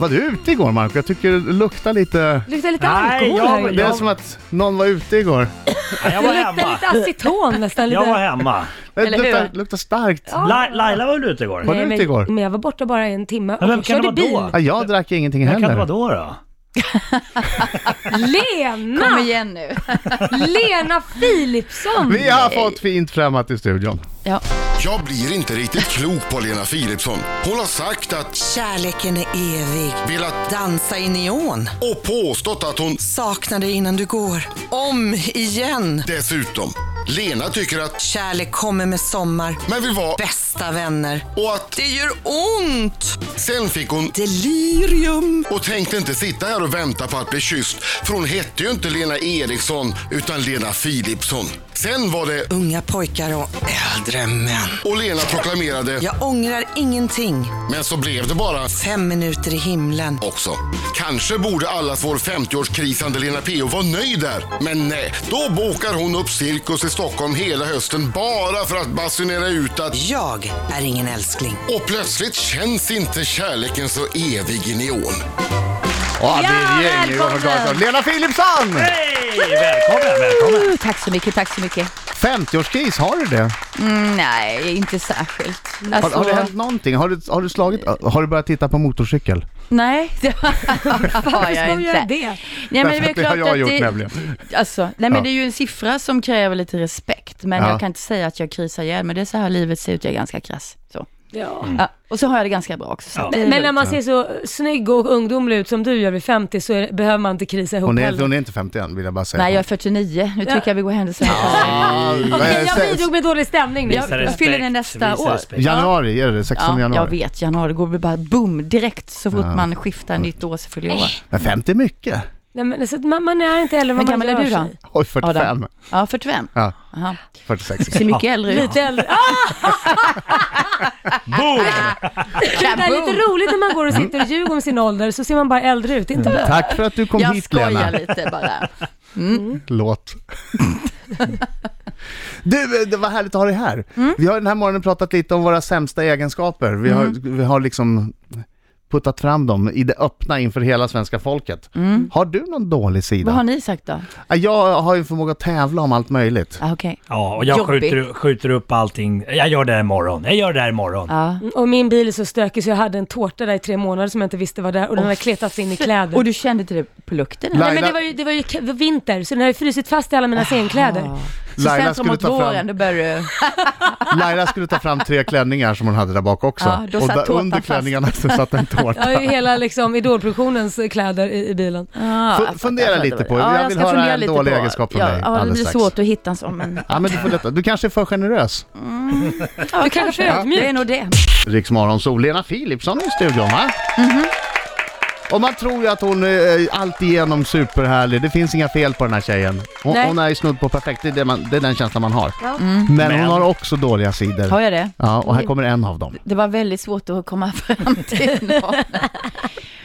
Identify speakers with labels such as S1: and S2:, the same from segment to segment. S1: Var du ute igår Marco? Jag tycker det luktar lite...
S2: luktar lite
S3: Nej,
S2: alkohol
S3: jag-
S2: här
S1: Det är
S2: idag.
S3: jag-
S1: som att någon var ute igår.
S3: Ja, jag
S2: Det
S3: var
S2: luktar
S3: hemma.
S2: lite aceton nästan. Lite.
S3: Jag var hemma.
S1: Det
S2: Eller hur?
S1: luktar, luktar starkt.
S4: Ah.
S2: Ja.
S3: La Laila var väl ute igår?
S1: Var du
S2: Nej,
S1: ute
S2: men-
S1: igår?
S2: Men jag var borta bara en timme och
S3: Men vem kan
S2: körde
S3: det vara
S2: bil.
S3: då?
S1: Ja, jag drack ingenting
S3: Vem kan det vara
S1: heller.
S3: då då?
S2: Lena!
S4: Kom igen nu.
S2: Lena Philipsson!
S1: Vi har fått fint främmat i studion.
S4: Ja.
S5: Jag blir inte riktigt klok på Lena Philipsson. Hon har sagt att,
S6: Kärleken är evig.
S5: velat
S6: Dansa i neon.
S5: och påstått att hon
S6: Saknar dig innan du går. Om igen.
S5: dessutom. Lena tycker att,
S6: Kärlek kommer med sommar.
S5: men vi var
S6: Bästa vänner.
S5: och att
S6: Det gör ont!
S5: sen fick hon
S6: Delirium.
S5: och tänkte inte sitta här och vänta på att bli kysst. För hon hette ju inte Lena Eriksson utan Lena Philipsson. Sen var det
S6: Unga pojkar och äldre män.
S5: och Lena proklamerade,
S6: Jag ångrar ingenting.
S5: men så blev det bara
S6: Fem minuter i himlen.
S5: också. Kanske borde allas vår 50-årskrisande Lena P.O. vara nöjd där. Men nej, då bokar hon upp cirkus i Stockholm hela hösten bara för att basunera ut att
S6: Jag är ingen älskling.
S5: och plötsligt känns inte kärleken så evig i neon.
S1: Ja, det är
S4: Ja,
S1: gäng igår
S4: välkommen!
S1: förstås. Lena Philipsson!
S3: Hej! Välkommen, välkommen.
S4: Uh, tack så mycket, tack så mycket.
S1: 50-årskris, har du det?
S4: Mm, nej, inte särskilt.
S1: Har,
S4: Alltså,
S1: har det hänt någonting? Har du, har, du slagit, har du börjat titta på motorcykel?
S4: Nej, det har jag
S2: Varför gör
S4: inte.
S2: jag det?
S4: Nej, men
S1: Därför
S4: det är
S1: att det har
S4: klart
S1: jag
S4: att
S1: gjort
S4: det,
S1: nämligen.
S4: Alltså, nej, men
S1: Ja.
S4: det är ju en siffra som kräver lite respekt, men
S1: Ja.
S4: jag kan inte säga att jag krisar ihjäl, men det är så här livet ser ut, jag är ganska krass. Så.
S1: Mm.
S2: Ja.
S4: Ja, och så har jag det ganska bra också. Så.
S3: Ja.
S4: det är
S2: Men när
S4: lugnt.
S2: man ser så snygg och ungdomlig ut som du gör vid 50 så är, behöver man inte krisa ihop
S1: Hon är,
S2: heller.
S1: hon är inte 51 vill jag bara säga.
S4: Nej, jag är 49, nu tycker jag vi går händelserna
S1: Men,
S2: Okej, jag
S1: se-
S2: bidrog med dålig stämning nu.
S4: Jag-
S3: Visa
S4: jag
S3: respekt,
S4: fyller den nästa
S3: visa
S4: år.
S3: respekt.
S1: Januari, är det 16
S4: Ja, jag
S1: januari?
S4: vet, januari går vi bara boom, direkt så fort man skiftar nytt år så fyller jag år.
S1: Men 50 är mycket.
S2: Nej, men, så att man, man är inte heller vad
S4: Hur
S2: man
S4: gammal är
S2: gör
S4: du då?
S2: sig.
S1: Oj, 45.
S4: Ja, 45.
S1: Ja,
S4: Aha.
S1: 46.
S4: Ser mycket äldre ut.
S2: Lite äldre. Ah,
S3: Boom!
S4: Ah,
S2: det är lite roligt när man går och sitter och ljuger om sin ålder så ser man bara äldre ut.
S3: Mm.
S2: Inte bra.
S1: Tack för att du kom
S4: Jag
S1: hit
S4: skojar
S1: Lena.
S4: lite bara.
S1: Låt. du, eh, det var härligt att ha dig här.
S4: Mm.
S1: Vi har den här morgonen pratat lite om våra sämsta egenskaper. Vi har,
S4: Mm.
S1: vi har liksom puttat fram dem i det öppna inför hela svenska folket. Har du någon dålig sida?
S4: Mm. Vad har ni sagt då?
S1: Ja, Jag har ju en förmåga att tävla om allt möjligt.
S4: Ah, Okej.
S3: Ja, och jag
S4: Jobbigt.
S3: skjuter, skjuter upp allting. Jag gör det här imorgon. Jag gör det här imorgon.
S4: Ja.
S2: Och min bil är så stökig så jag hade en tårta där i tre månader som jag inte visste var där och den hade kletats in i kläder.
S4: Och du kände till det på lukten? eller?
S1: Nej,
S2: Nej men
S1: Laila-
S2: det var ju, det var ju k- vinter så den har ju frusit fast i alla
S4: Ah.
S2: mina scenkläder.
S4: Så
S1: Laila
S4: sen
S1: skulle
S4: framåt
S1: ta fram-
S4: våren, då började du...
S1: Laila skulle ta fram tre klänningar som hon hade där bak också.
S4: Ja, då
S1: och
S4: satt
S1: där
S4: tårtan
S1: under
S4: fast.
S1: klänningarna så satt en
S2: Jag har
S1: tårta.
S2: ju hela liksom idolproduktionens kläder i, i bilen.
S4: Ah,
S1: Fu-
S4: jag fattar,
S1: fundera
S4: jag fattar
S1: lite
S4: vad det
S1: på
S4: var.
S1: det. Jag
S4: jag
S1: vill
S4: ska
S1: höra
S4: fundera
S1: en
S4: lite
S1: dålig
S4: på.
S1: egenskap från
S4: ja,
S1: dig
S4: Ja, det
S1: alldeles
S4: blir
S1: strax.
S4: svårt att hitta en sån, men...
S1: Ja, men du får detta. Du kanske är för generös.
S4: Ja,
S2: Du kanske är ödmjuk.
S4: Det är nog det.
S1: Riksmorgon, så Lena Philipsson i studion va? Och man tror ju att hon är eh, alltigenom superhärlig, det finns inga fel på den här tjejen. Hon,
S2: Nej.
S1: hon är ju snudd på perfekt, det är, det man, det är den känslan man har. Men, hon har också dåliga sidor.
S4: Mm. Har jag det?
S1: Ja, och här kommer en av dem.
S4: Det var väldigt svårt att komma fram till någon.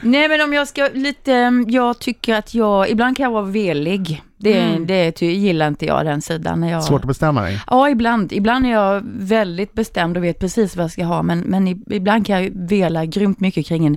S4: Nej men om jag ska lite, ehm, jag tycker att jag, ibland kan jag vara velig. Det, det ty, gillar inte jag den sidan. När jag,
S1: Svårt att bestämma dig.
S4: Ja, ibland. Ibland är jag väldigt bestämd och vet precis vad jag ska ha, men, men i- ibland kan jag vela grymt mycket kring en,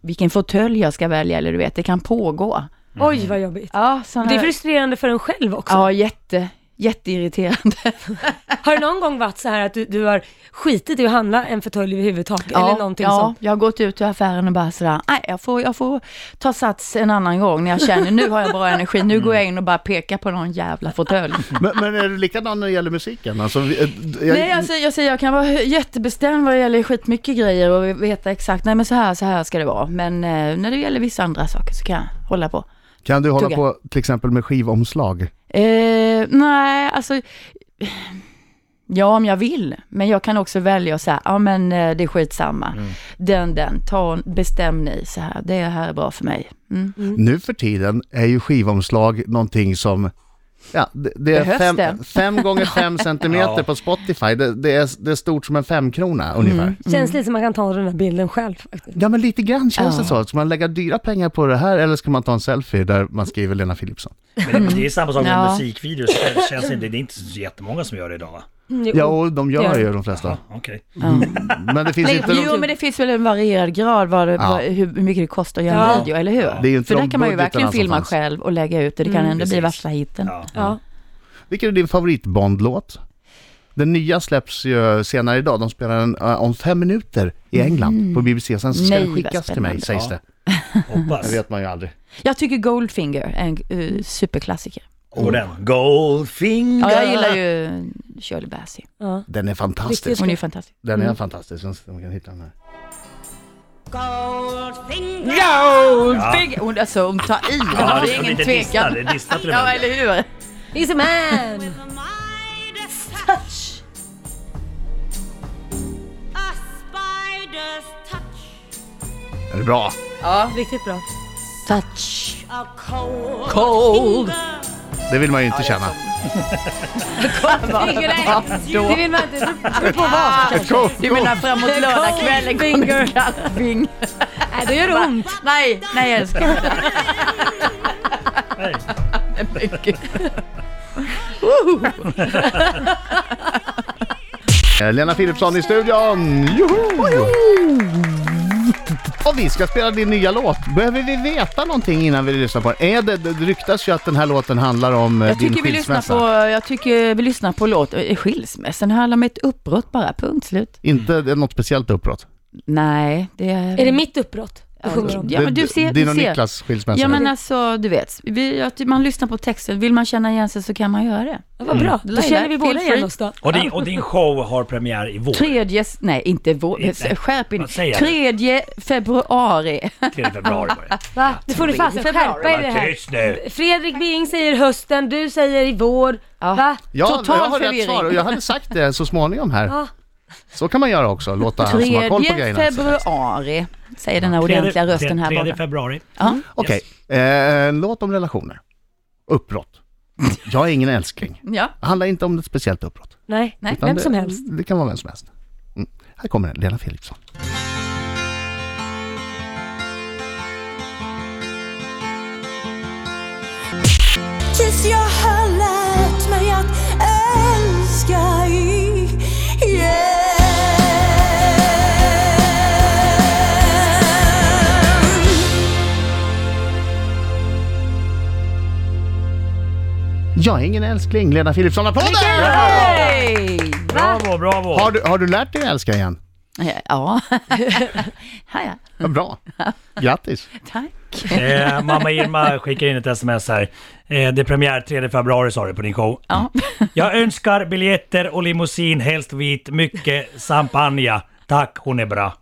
S4: vilken fåtölj jag ska välja, eller du vet, det kan pågå.
S2: Oj vad jobbigt.
S4: Mm. Ja, såna,
S2: Det är frustrerande för en själv också.
S4: Ja, jätte, jätteirriterande.
S2: Har det någon gång varit så här att du, du har skitit i att handla en fåtölj överhuvudtaget?
S4: ja,
S2: eller någonting
S4: ja,
S2: sånt?
S4: jag har gått ut ur affären och bara sådär, nej jag får, jag får ta sats en annan gång när jag känner nu har jag bra energi, nu går jag in och bara pekar på någon jävla fåtölj.
S1: Men, men är du likadan när det gäller musiken? Alltså, vi- eh, jag,
S4: Nej alltså jag säger, jag kan vara jättebestämd vad det gäller skitmycket grejer och veta exakt, nej men så här, så här ska det vara. Men eh, när det gäller vissa andra saker så kan jag hålla på.
S1: kan du hålla
S4: tugga.
S1: på till exempel med skivomslag?
S4: Eh, nej, alltså, ja om jag vill, men jag kan också välja att säga, ja men eh, det är skitsamma.
S1: Mm.
S4: Den, den, ta, bestäm ni så här, det här är bra för mig. Mm.
S1: Nu för tiden är ju skivomslag någonting som Ja, det, det är
S4: Behövs
S1: fem,
S4: det?
S1: fem gånger fem centimeter
S3: Ja.
S1: på Spotify. Det, det, är, det är stort som en femkrona
S4: Mm.
S1: ungefär.
S2: Känns lite som man kan ta den här bilden själv faktiskt.
S1: Ja men lite grann känns
S4: Ja.
S1: det så. Ska man lägga dyra pengar på det här eller ska man ta en selfie där man skriver Lena Philipsson?
S3: Men det, det är samma sak med
S4: Ja.
S3: musikvideos. Det, känns inte, det är inte så jättemånga som gör det idag va?
S2: Mm,
S1: Ja, och de gör
S2: Gör.
S1: ju de flesta.
S3: Okej.
S1: Men Mm. det finns
S4: Nej,
S1: inte... de-
S4: jo, men det finns väl en varierad grad vad, det-
S1: Ja.
S4: vad, hur hur mycket det kostar att göra
S2: Ja.
S4: en video, eller hur?
S1: Det är ju inte
S4: För
S1: de
S4: den kan man ju verkligen
S1: budgetarna som
S4: filma
S1: fanns. Mm.
S4: själv och lägga ut och det kan ändå bli
S3: Precis.
S4: värsta hiten.
S3: Ja.
S2: ja.
S1: Vilken är din favoritbondlåt? Den nya släpps ju senare idag. De spelar den eh, om fem minuter i England på BBC. Sen ska
S4: Mm. Nej,
S1: den
S4: vad
S1: skickas till mig,
S4: spännande.
S1: sägs det. Det
S3: Hoppas.
S1: vet man ju aldrig.
S4: Jag tycker Goldfinger är en eh, superklassiker.
S3: Och den. Goldfinger.
S4: Ja, jag gillar ju Shirley Bassey.
S2: ja.
S1: Den är fantastisk.
S4: Hon är ju fantastisk.
S1: Den är fantastisk. Jag ska- jag kan hitta den här.
S4: Goldfinger! Hon, alltså, hon tar i, det
S3: Ja,
S4: är
S3: det är
S4: ingen
S3: lite distat.
S4: tvekan.
S3: Det är distat till och
S4: Ja,
S3: med.
S4: eller hur?
S2: He's a man!
S4: Mm.
S1: Är det bra?
S2: Riktigt bra.
S4: Mm. Touch. Cold.
S1: Det vill man ju inte känna.
S2: Finger ej. Det vill man inte. Det beror på vad.
S1: Cool.
S4: Du menar framåt lördagskvällen kommer Goldfinger.
S2: Nej, då gör det ont.
S4: Nej, nej älskling.
S3: Nej.
S4: Men gud.
S1: Eh, Lena Philipsson i studion! Joho! Och vi ska spela din nya låt. Behöver vi veta någonting innan vi lyssnar på den? Är det, det ryktas ju att den här låten handlar om eh,
S4: Jag
S1: din
S4: tycker, vi lyssnar
S1: skilsmässa.
S4: på, jag tycker vi lyssnar på låt, eh, skilsmässan Det handlar om ett uppbrott bara, punkt slut.
S1: Inte det är något speciellt uppbrott?
S4: Nej, det är...
S2: Är det mitt uppbrott? Jag sjunger om.
S4: Ja, men du ser,
S1: Din
S4: du
S1: och
S4: ser.
S1: Niklas skilsmässa.
S4: Ja men alltså, du vet, vi, jag ty- man lyssnar på texten, vill man känna igen sig så kan man göra det.
S2: Ja, Vad bra. Då
S4: Mm. Laila,
S2: känner vi båda
S4: feel free.
S2: igen oss då.
S3: Och, din, och din show har premiär i vår.
S4: Tredje, s- nej inte vår,
S3: Inte.
S4: skärp in
S3: Vad säger jag?
S4: Tredje februari.
S3: 3 februari var det.
S2: Va? Nu får du fasen skärpa er i det
S3: Var
S2: här.
S3: tyst nu.
S2: Fredrik Bing säger hösten, du säger i vår.
S4: Ja.
S2: Va?
S1: Ja,
S4: Total
S1: jag har rätt
S4: förvirring.
S1: svar och jag hade sagt det så småningom här.
S2: Ja.
S1: Så kan man göra också, låta han som har koll på
S4: Tredje
S1: grejerna. säga.
S4: februari, säger den här ordentliga rösten här
S3: Tredje
S4: borta.
S3: februari.
S4: Ja.
S1: Okej, eh, en låt om relationer. Uppbrott. Jag är ingen älskling.
S4: Ja.
S1: Det handlar inte om ett speciellt uppbrott.
S2: Nej,
S4: Nej,
S1: utan
S2: vem
S1: det,
S2: som helst.
S1: Det kan vara vem som helst. Mm. Här kommer den, Lena Philipsson.
S7: Tills jag har lärt mig att älska igen
S1: Jag är ingen älskling, Lena Philipsson. Applåder!
S4: Hej!
S3: Bravo, bravo.
S1: Har du, har du lärt dig att älska igen?
S4: Ja. ja, ja.
S1: Vad bra. Grattis.
S4: Tack.
S3: Eh, mamma Irma skickar in ett sms här. Eh, det är premiär 3 februari sa du på din show.
S4: Ja.
S3: Jag önskar biljetter och limousin, helst vit, mycket champagne. Tack, hon är bra.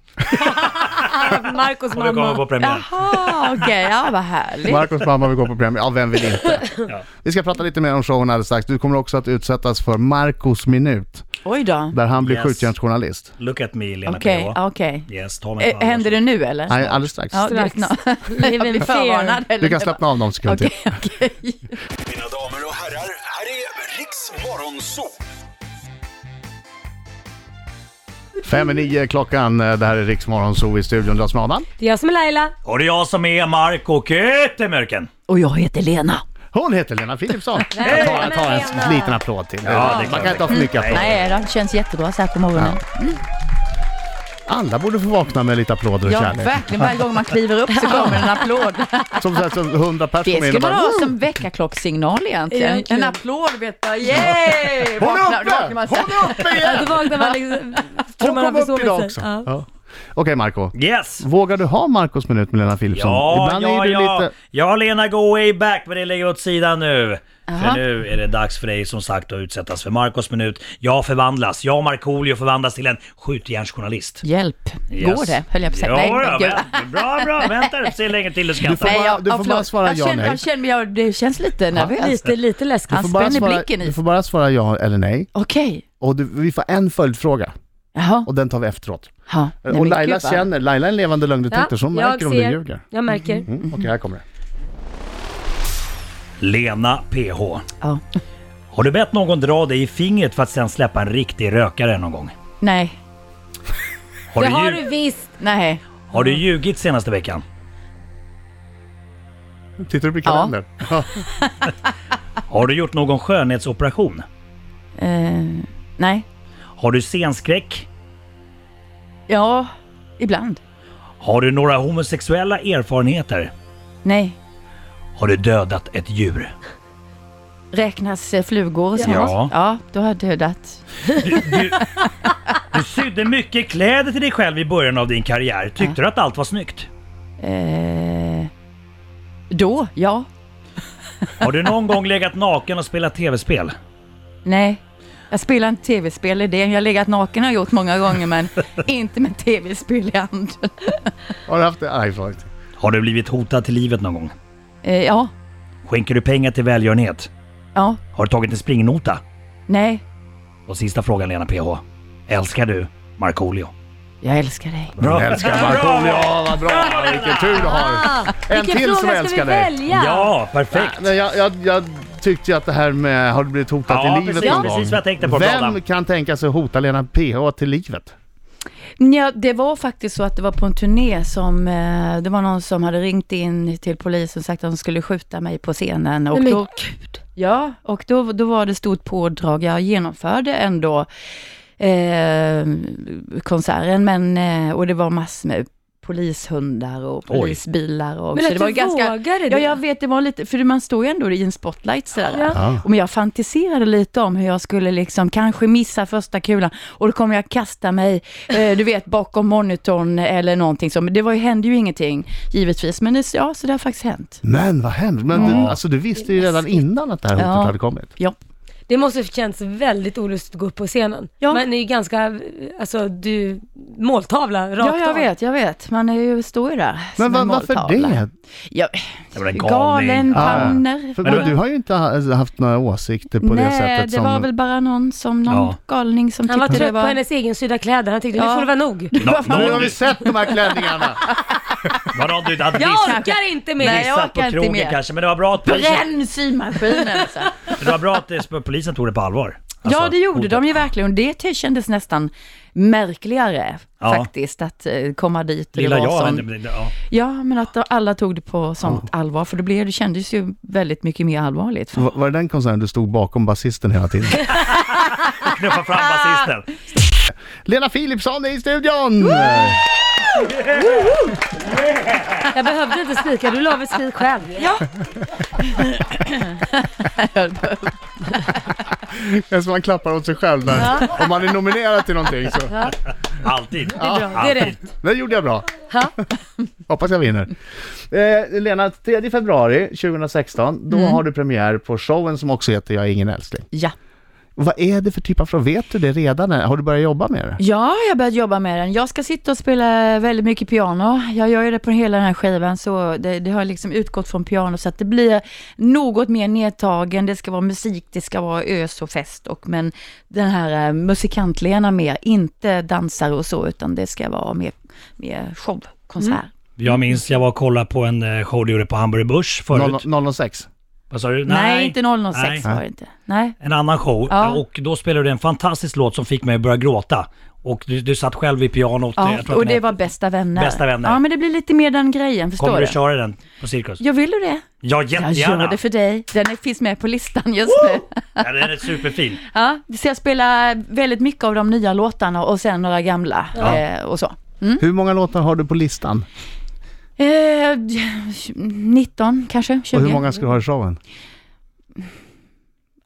S2: Marcos
S3: Och du kommer
S2: mamma.
S3: på premiär.
S4: Jaha, okej, ja vad härligt.
S1: Marcos mamma vill gå på premiär. Ja, vem vill inte? Vi ska prata lite mer om showen alldeles strax. Du kommer också att utsättas för Marcos minut,
S4: Oj då.
S1: där han blir
S3: Yes.
S1: skjutjärnsjournalist.
S3: Look at me, Lena
S4: Okej,
S3: PH.
S4: okej.
S3: Yes, ta mig
S4: Eh,
S3: på allvar.
S4: Händer det nu eller?
S1: Nej, alldeles strax.
S4: Ja,
S2: Strax.
S4: det- nå- Jag
S2: Even
S4: blir
S2: fair.
S4: förvarnad. eller?
S1: Du kan slappna av någon sekund till.
S4: Okej, okej.
S8: Mina damer och herrar, här är Riks Morgonzoo!
S1: Fem i nio är klockan. Eh, Det här är Riksmorgon, så i studion dras med Adam.
S2: Det är jag som är Laila.
S3: Och det är jag som är Marco Kötemörken.
S4: Och jag heter Lena.
S1: Hon heter Lena Philipsson. Jag tar, jag tar en liten applåd till.
S3: är
S1: Man
S3: klart.
S1: kan inte ha för mycket applåd.
S4: Nej, det känns jättebra så här på morgonen.
S1: Alla borde få vakna med lite applåder och
S4: Ja,
S1: kärlek.
S4: verkligen. Varje gång man kliver upp så kommer en applåd.
S1: Som sagt, som hundra personer
S4: Det
S1: in
S4: ska
S1: och
S4: man
S1: bara...
S4: ha som väckarklockssignal egentligen.
S2: Egentligen.
S4: En applåd vet du. Yay!
S1: Hon är
S4: Vaknar- vaknar
S1: uppe!
S4: man så här.
S1: Hon är uppe
S2: Ja, då
S1: igen!
S2: vaknar man liksom. Tror
S1: Hon
S2: man har
S1: kom upp
S2: försovit
S1: idag
S2: sig.
S1: också.
S2: Ja.
S1: Ja. Okej Marco,
S3: Yes!
S1: vågar du ha Marcos minut med Lena Philipsson?
S3: Ja,
S1: Ibland
S3: ja,
S1: är du
S3: ja.
S1: lite...
S3: ja Lena, go way back, men det lägger vi åt sidan nu.
S4: Jaha.
S3: För nu är det dags för dig som sagt att utsättas för Marcos minut. Jag förvandlas, jag Markoolio förvandlas till en skjutjärnsjournalist.
S4: Hjälp.
S3: Yes.
S4: Går det? Höll jag på att säga.
S3: Ja,
S4: Nej, men
S3: ja,
S4: gud.
S3: men- Bra, bra, vänta du, se hur länge till du skrattar.
S1: bara- du får bara
S4: förlåt.
S1: svara
S4: jag
S1: ja,
S4: känner,
S1: nej.
S4: Jag känner, jag, det känns lite nervöst.
S2: Lite, lite läskigt.
S4: Han
S1: Du får bara
S4: spänner
S1: svara-
S4: blicken
S1: Du
S4: i.
S1: får bara svara ja eller nej.
S4: Okej.
S1: Och du, vi får en följdfråga
S4: Jaha.
S1: och den tar vi efteråt.
S4: Ja. Nej,
S1: och
S4: men
S1: Laila
S4: gud, vad-
S1: känner, Laila är en levande lögndetektor så hon
S2: jag
S1: märker om
S2: ser.
S1: du ljuger.
S2: Jag märker.
S1: Mm, Okej, här kommer det.
S3: Lena PH.
S4: Ja.
S3: Har du bett någon dra dig i fingret för att sen släppa en riktig rökare någon gång?
S4: Nej.
S3: Har
S2: Det
S3: du,
S2: har
S3: ljug-
S2: du visst.
S4: Nej.
S3: har du ljugit senaste veckan?
S1: Tittar du på kalendern?
S3: Har du gjort någon skönhetsoperation?
S4: Eh, Nej.
S3: Har du scenskräck?
S4: Ja, ibland.
S3: Har du några homosexuella erfarenheter?
S4: Nej.
S3: Har du dödat ett djur?
S4: Räknas eh, flugor och sånt?
S3: Ja.
S4: Ja, då har jag dödat.
S3: Du sydde mycket kläder till dig själv i början av din karriär. Tyckte du att allt var snyggt?
S4: Eh, då? Ja.
S3: Har du någon gång legat naken och spelat tv-spel?
S4: Nej. Jag spelar inte tv-spel i det. Jag har legat naken har jag gjort många gånger men inte med tv-spel i handen.
S1: Har du haft det? iPhone?
S3: Har du blivit hotad till livet någon gång?
S4: Eh, ja.
S3: Skänker du pengar till välgörenhet?
S4: Ja.
S3: Har du tagit en springnota?
S4: Nej.
S3: Och sista frågan Lena PH. Älskar du Markoolio?
S4: Jag älskar dig.
S1: Jag älskar Markoolio, ja, vad bra! Vilken tur du har! En
S2: Ah, Vilken
S1: till som
S2: fråga ska vi
S1: älskar dig!
S2: välja?
S3: Ja, perfekt!
S1: Nej, jag, jag, jag tyckte ju att det här med har du blivit hotad
S3: Ja,
S1: i livet
S3: precis,
S1: någon
S3: precis
S1: gång?
S3: vad jag tänkte på, bra
S1: Vem
S3: där.
S1: kan tänka sig att hota Lena PH till livet?
S4: Ja, det var faktiskt så att det var på en turné som eh, det var någon som hade ringt in till polisen och sagt att de skulle skjuta mig på scenen. Och
S2: Nej, men
S4: då, ja, och då, då var det stort pådrag. Jag genomförde ändå eh, konserten men, eh, och det var massor med polishundar och
S3: Oj.
S4: polisbilar. Och,
S2: Men
S4: så
S2: att
S4: det var
S2: du
S4: ju ganska,
S2: vågade
S4: Ja,
S2: det.
S4: jag vet, det var lite, för man står ju ändå i en spotlight sådär.
S2: Ja.
S1: Ja.
S4: Och men jag fantiserade lite om hur jag skulle liksom kanske missa första kulan och då kommer jag kasta mig, eh, du vet, bakom monitorn eller någonting så. Men det var, ju- hände ju ingenting givetvis, men det, ja, så det har faktiskt hänt.
S1: Men vad hemskt! Men du, alltså, du visste ju redan innan att det här hotet
S4: Ja.
S1: hade kommit.
S4: Ja.
S2: Det måste ha känts väldigt olustigt att gå upp på scenen.
S4: Ja.
S2: Man är ju ganska, alltså du, måltavla rakt
S4: ja, jag
S2: av.
S4: vet, jag vet. Man är ju, står ju där
S1: Men
S4: som
S1: va,
S4: en
S1: varför
S4: måltavla.
S1: det?
S4: Ja,
S3: Det var en galning. Ah.
S4: galen,
S1: Ja, ja.
S4: panner.
S1: För
S4: Ja.
S1: du, du har ju inte ha- alltså, haft några åsikter på
S4: Nej,
S1: det sättet
S4: det
S1: som...
S4: var väl bara någon som, någon
S3: Ja.
S4: galning som
S2: Han var
S4: tyckte det
S2: trött på
S4: var...
S2: hennes egensydda kläder, han tyckte nu
S4: Ja.
S2: får det vara nog.
S3: Nå-
S1: Nu har
S3: någon-
S1: vi sett de här klänningarna!
S3: Vadå, du hade
S2: Jag
S3: dissat-
S2: orkar inte mer!
S4: Nej, jag
S3: dissat på
S4: orkar inte
S3: krogen
S4: mer.
S3: kanske, men det var bra att polisen,
S4: Bränn symaskinen alltså.
S3: det var bra att eh, sp- polisen tog det på allvar. Alltså,
S4: ja, det gjorde de
S3: hotet.
S4: ju verkligen. Och Det ty- kändes nästan märkligare
S3: Ja.
S4: faktiskt, att eh, komma dit. och det
S3: Lilla
S4: var
S3: jag,
S4: sån-
S3: hände- men det- ja.
S4: Ja, men att alla tog det på sånt allvar, för det, blev, det kändes ju väldigt mycket mer allvarligt. För...
S1: Var, var det den konserten du stod bakom basisten hela tiden?
S3: knuffa fram basisten.
S1: Lena Philipsson är i studion!
S2: Jag behövde inte skrika, du la väl skrik själv. Ja.
S1: Det är som man klappar åt sig själv där. Om man är nominerad till någonting så.
S3: Alltid.
S2: Det är
S3: Alltid.
S2: rätt.
S1: Det gjorde jag bra.
S2: Ja.
S1: Hoppas jag vinner. Eh, Lena, 3 februari 2016, då
S4: Mm.
S1: har du premiär på showen som också heter Jag är ingen älskling.
S4: Ja.
S1: Vad är det för typ av show? Vet du det redan? Har du börjat jobba med det?
S4: ja, jag har börjat jobba med den. Jag ska sitta och spela väldigt mycket piano. Jag gör ju det på hela den här skivan, så det, det har liksom utgått från piano, så att det blir något mer nedtagen. Det ska vara musik, det ska vara ös och fest, och, men den här eh, musikantlena mer, inte dansare och så, utan det ska vara mer, mer show, konsert.
S3: Mm. Jag minns, jag var och kollade på en eh, show du gjorde på Hamburger Börs förut.
S1: 006?
S3: Vad sa du?
S4: Nej, inte 006
S3: Nej.
S4: var det inte. Nej.
S3: En annan show.
S4: Ja.
S3: Och då spelade du en fantastisk låt som fick mig att börja gråta. Och du, du satt själv vid pianot. eh,
S4: Ja,
S3: jag tror att
S4: och
S3: den
S4: det
S3: heter-
S4: var bästa vänner.
S3: Bästa vänner.
S4: Ja, men det blir lite mer den grejen, förstår
S3: Kommer
S4: du?
S3: du köra den på Cirkus?
S4: Ja, vill du det?
S3: Ja,
S4: Jag gör
S3: jättegärna!
S4: det för dig. Den är- finns med på listan just nu.
S3: Ja, den är superfin.
S4: Ja, så jag spelar väldigt mycket av de nya låtarna och sen några gamla eh, och så.
S1: Hur många låtar har du på listan?
S4: Eh, 19 kanske, 20,
S1: Och hur många ska du ha i showen?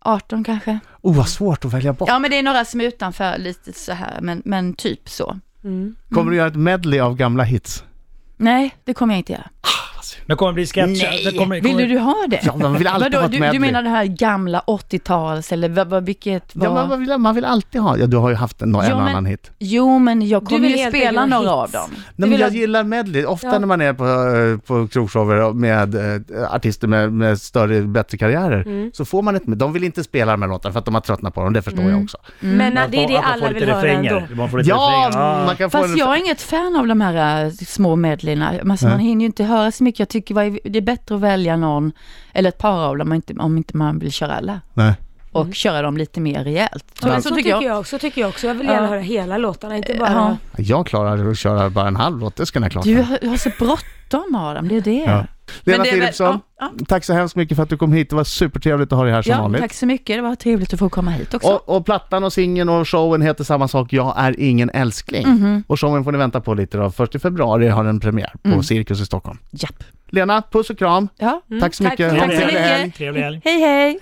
S4: 18 kanske.
S1: Oh, vad svårt att välja bort.
S4: Ja, men det är några som är utanför lite så här, men, men typ så.
S1: Kommer du göra ett medley av gamla hits?
S4: Nej, det kommer jag inte göra.
S3: Men kommer det bli sketch? Det kommer,
S4: Vill
S3: kommer,
S4: du, du ha det?
S1: Ja, man vill alltid ha
S4: Vadå,
S1: ett
S4: du,
S1: medley.
S4: du menar det här gamla 80-tals eller vad, vad, vilket var?
S1: Ja, men man, vill, man vill alltid ha, ja du har ju haft en, en
S4: Ja,
S1: och
S4: men-
S1: annan hit.
S4: Jo, men jag kommer
S2: vill
S4: ju
S2: helt
S4: spela
S2: enkelt
S4: några
S2: göra
S4: av
S2: hits.
S4: dem.
S1: Nej, men jag gillar medley, ofta när man är på, eh, på krogshower med eh, artister med, med större, bättre karriärer,
S4: Mm.
S1: så får man ett, de vill inte spela de här låtarna för att de har tröttnat på dem, det förstår
S4: Mm.
S1: jag också.
S2: Men nej, det är
S3: Att
S2: det
S3: man får
S2: alla
S3: lite
S2: vill höra
S3: refränger.
S2: ändå.
S3: Man får lite
S1: Ja,
S3: refränger. Ja.
S1: man kan få
S4: Fast
S1: en...
S4: jag är inget fan av de här äh, små medleyna. Alltså, man hinner ju inte höra så mycket. Jag tycker vad är- det är bättre att välja någon, eller ett par av dem, om inte, om inte man vill köra alla.
S1: Nej.
S4: Och köra dem lite mer rejält.
S2: Ja, men så tycker jag, så tycker jag också. Jag vill gärna
S4: Ja.
S2: höra hela låtarna, inte bara...
S4: Ja.
S1: Jag klarar att köra bara en halv låt, det ska jag klara.
S4: Du har, har så bråttom Adam, det är det.
S1: Ja. Lena
S4: det är väl-
S1: Philipsson,
S4: ja,
S1: tack så hemskt mycket för att du kom hit. Det var supertrevligt att ha dig här som
S4: Ja,
S1: vanligt.
S4: tack så mycket. Det var trevligt att få komma hit också.
S1: Och, och plattan och singeln och showen heter samma sak, Jag är ingen älskling.
S4: Mhm.
S1: Och showen får ni vänta på lite då. Först i februari har den premiär på
S4: Mm.
S1: Cirkus i Stockholm.
S4: Japp.
S1: Lena, puss och kram.
S4: Ja.
S1: Tack så mycket.
S2: Mm. Tack så
S1: Ha en
S2: mycket.
S1: trevlig helg.
S3: Trevlig helg.
S4: Hej, hej.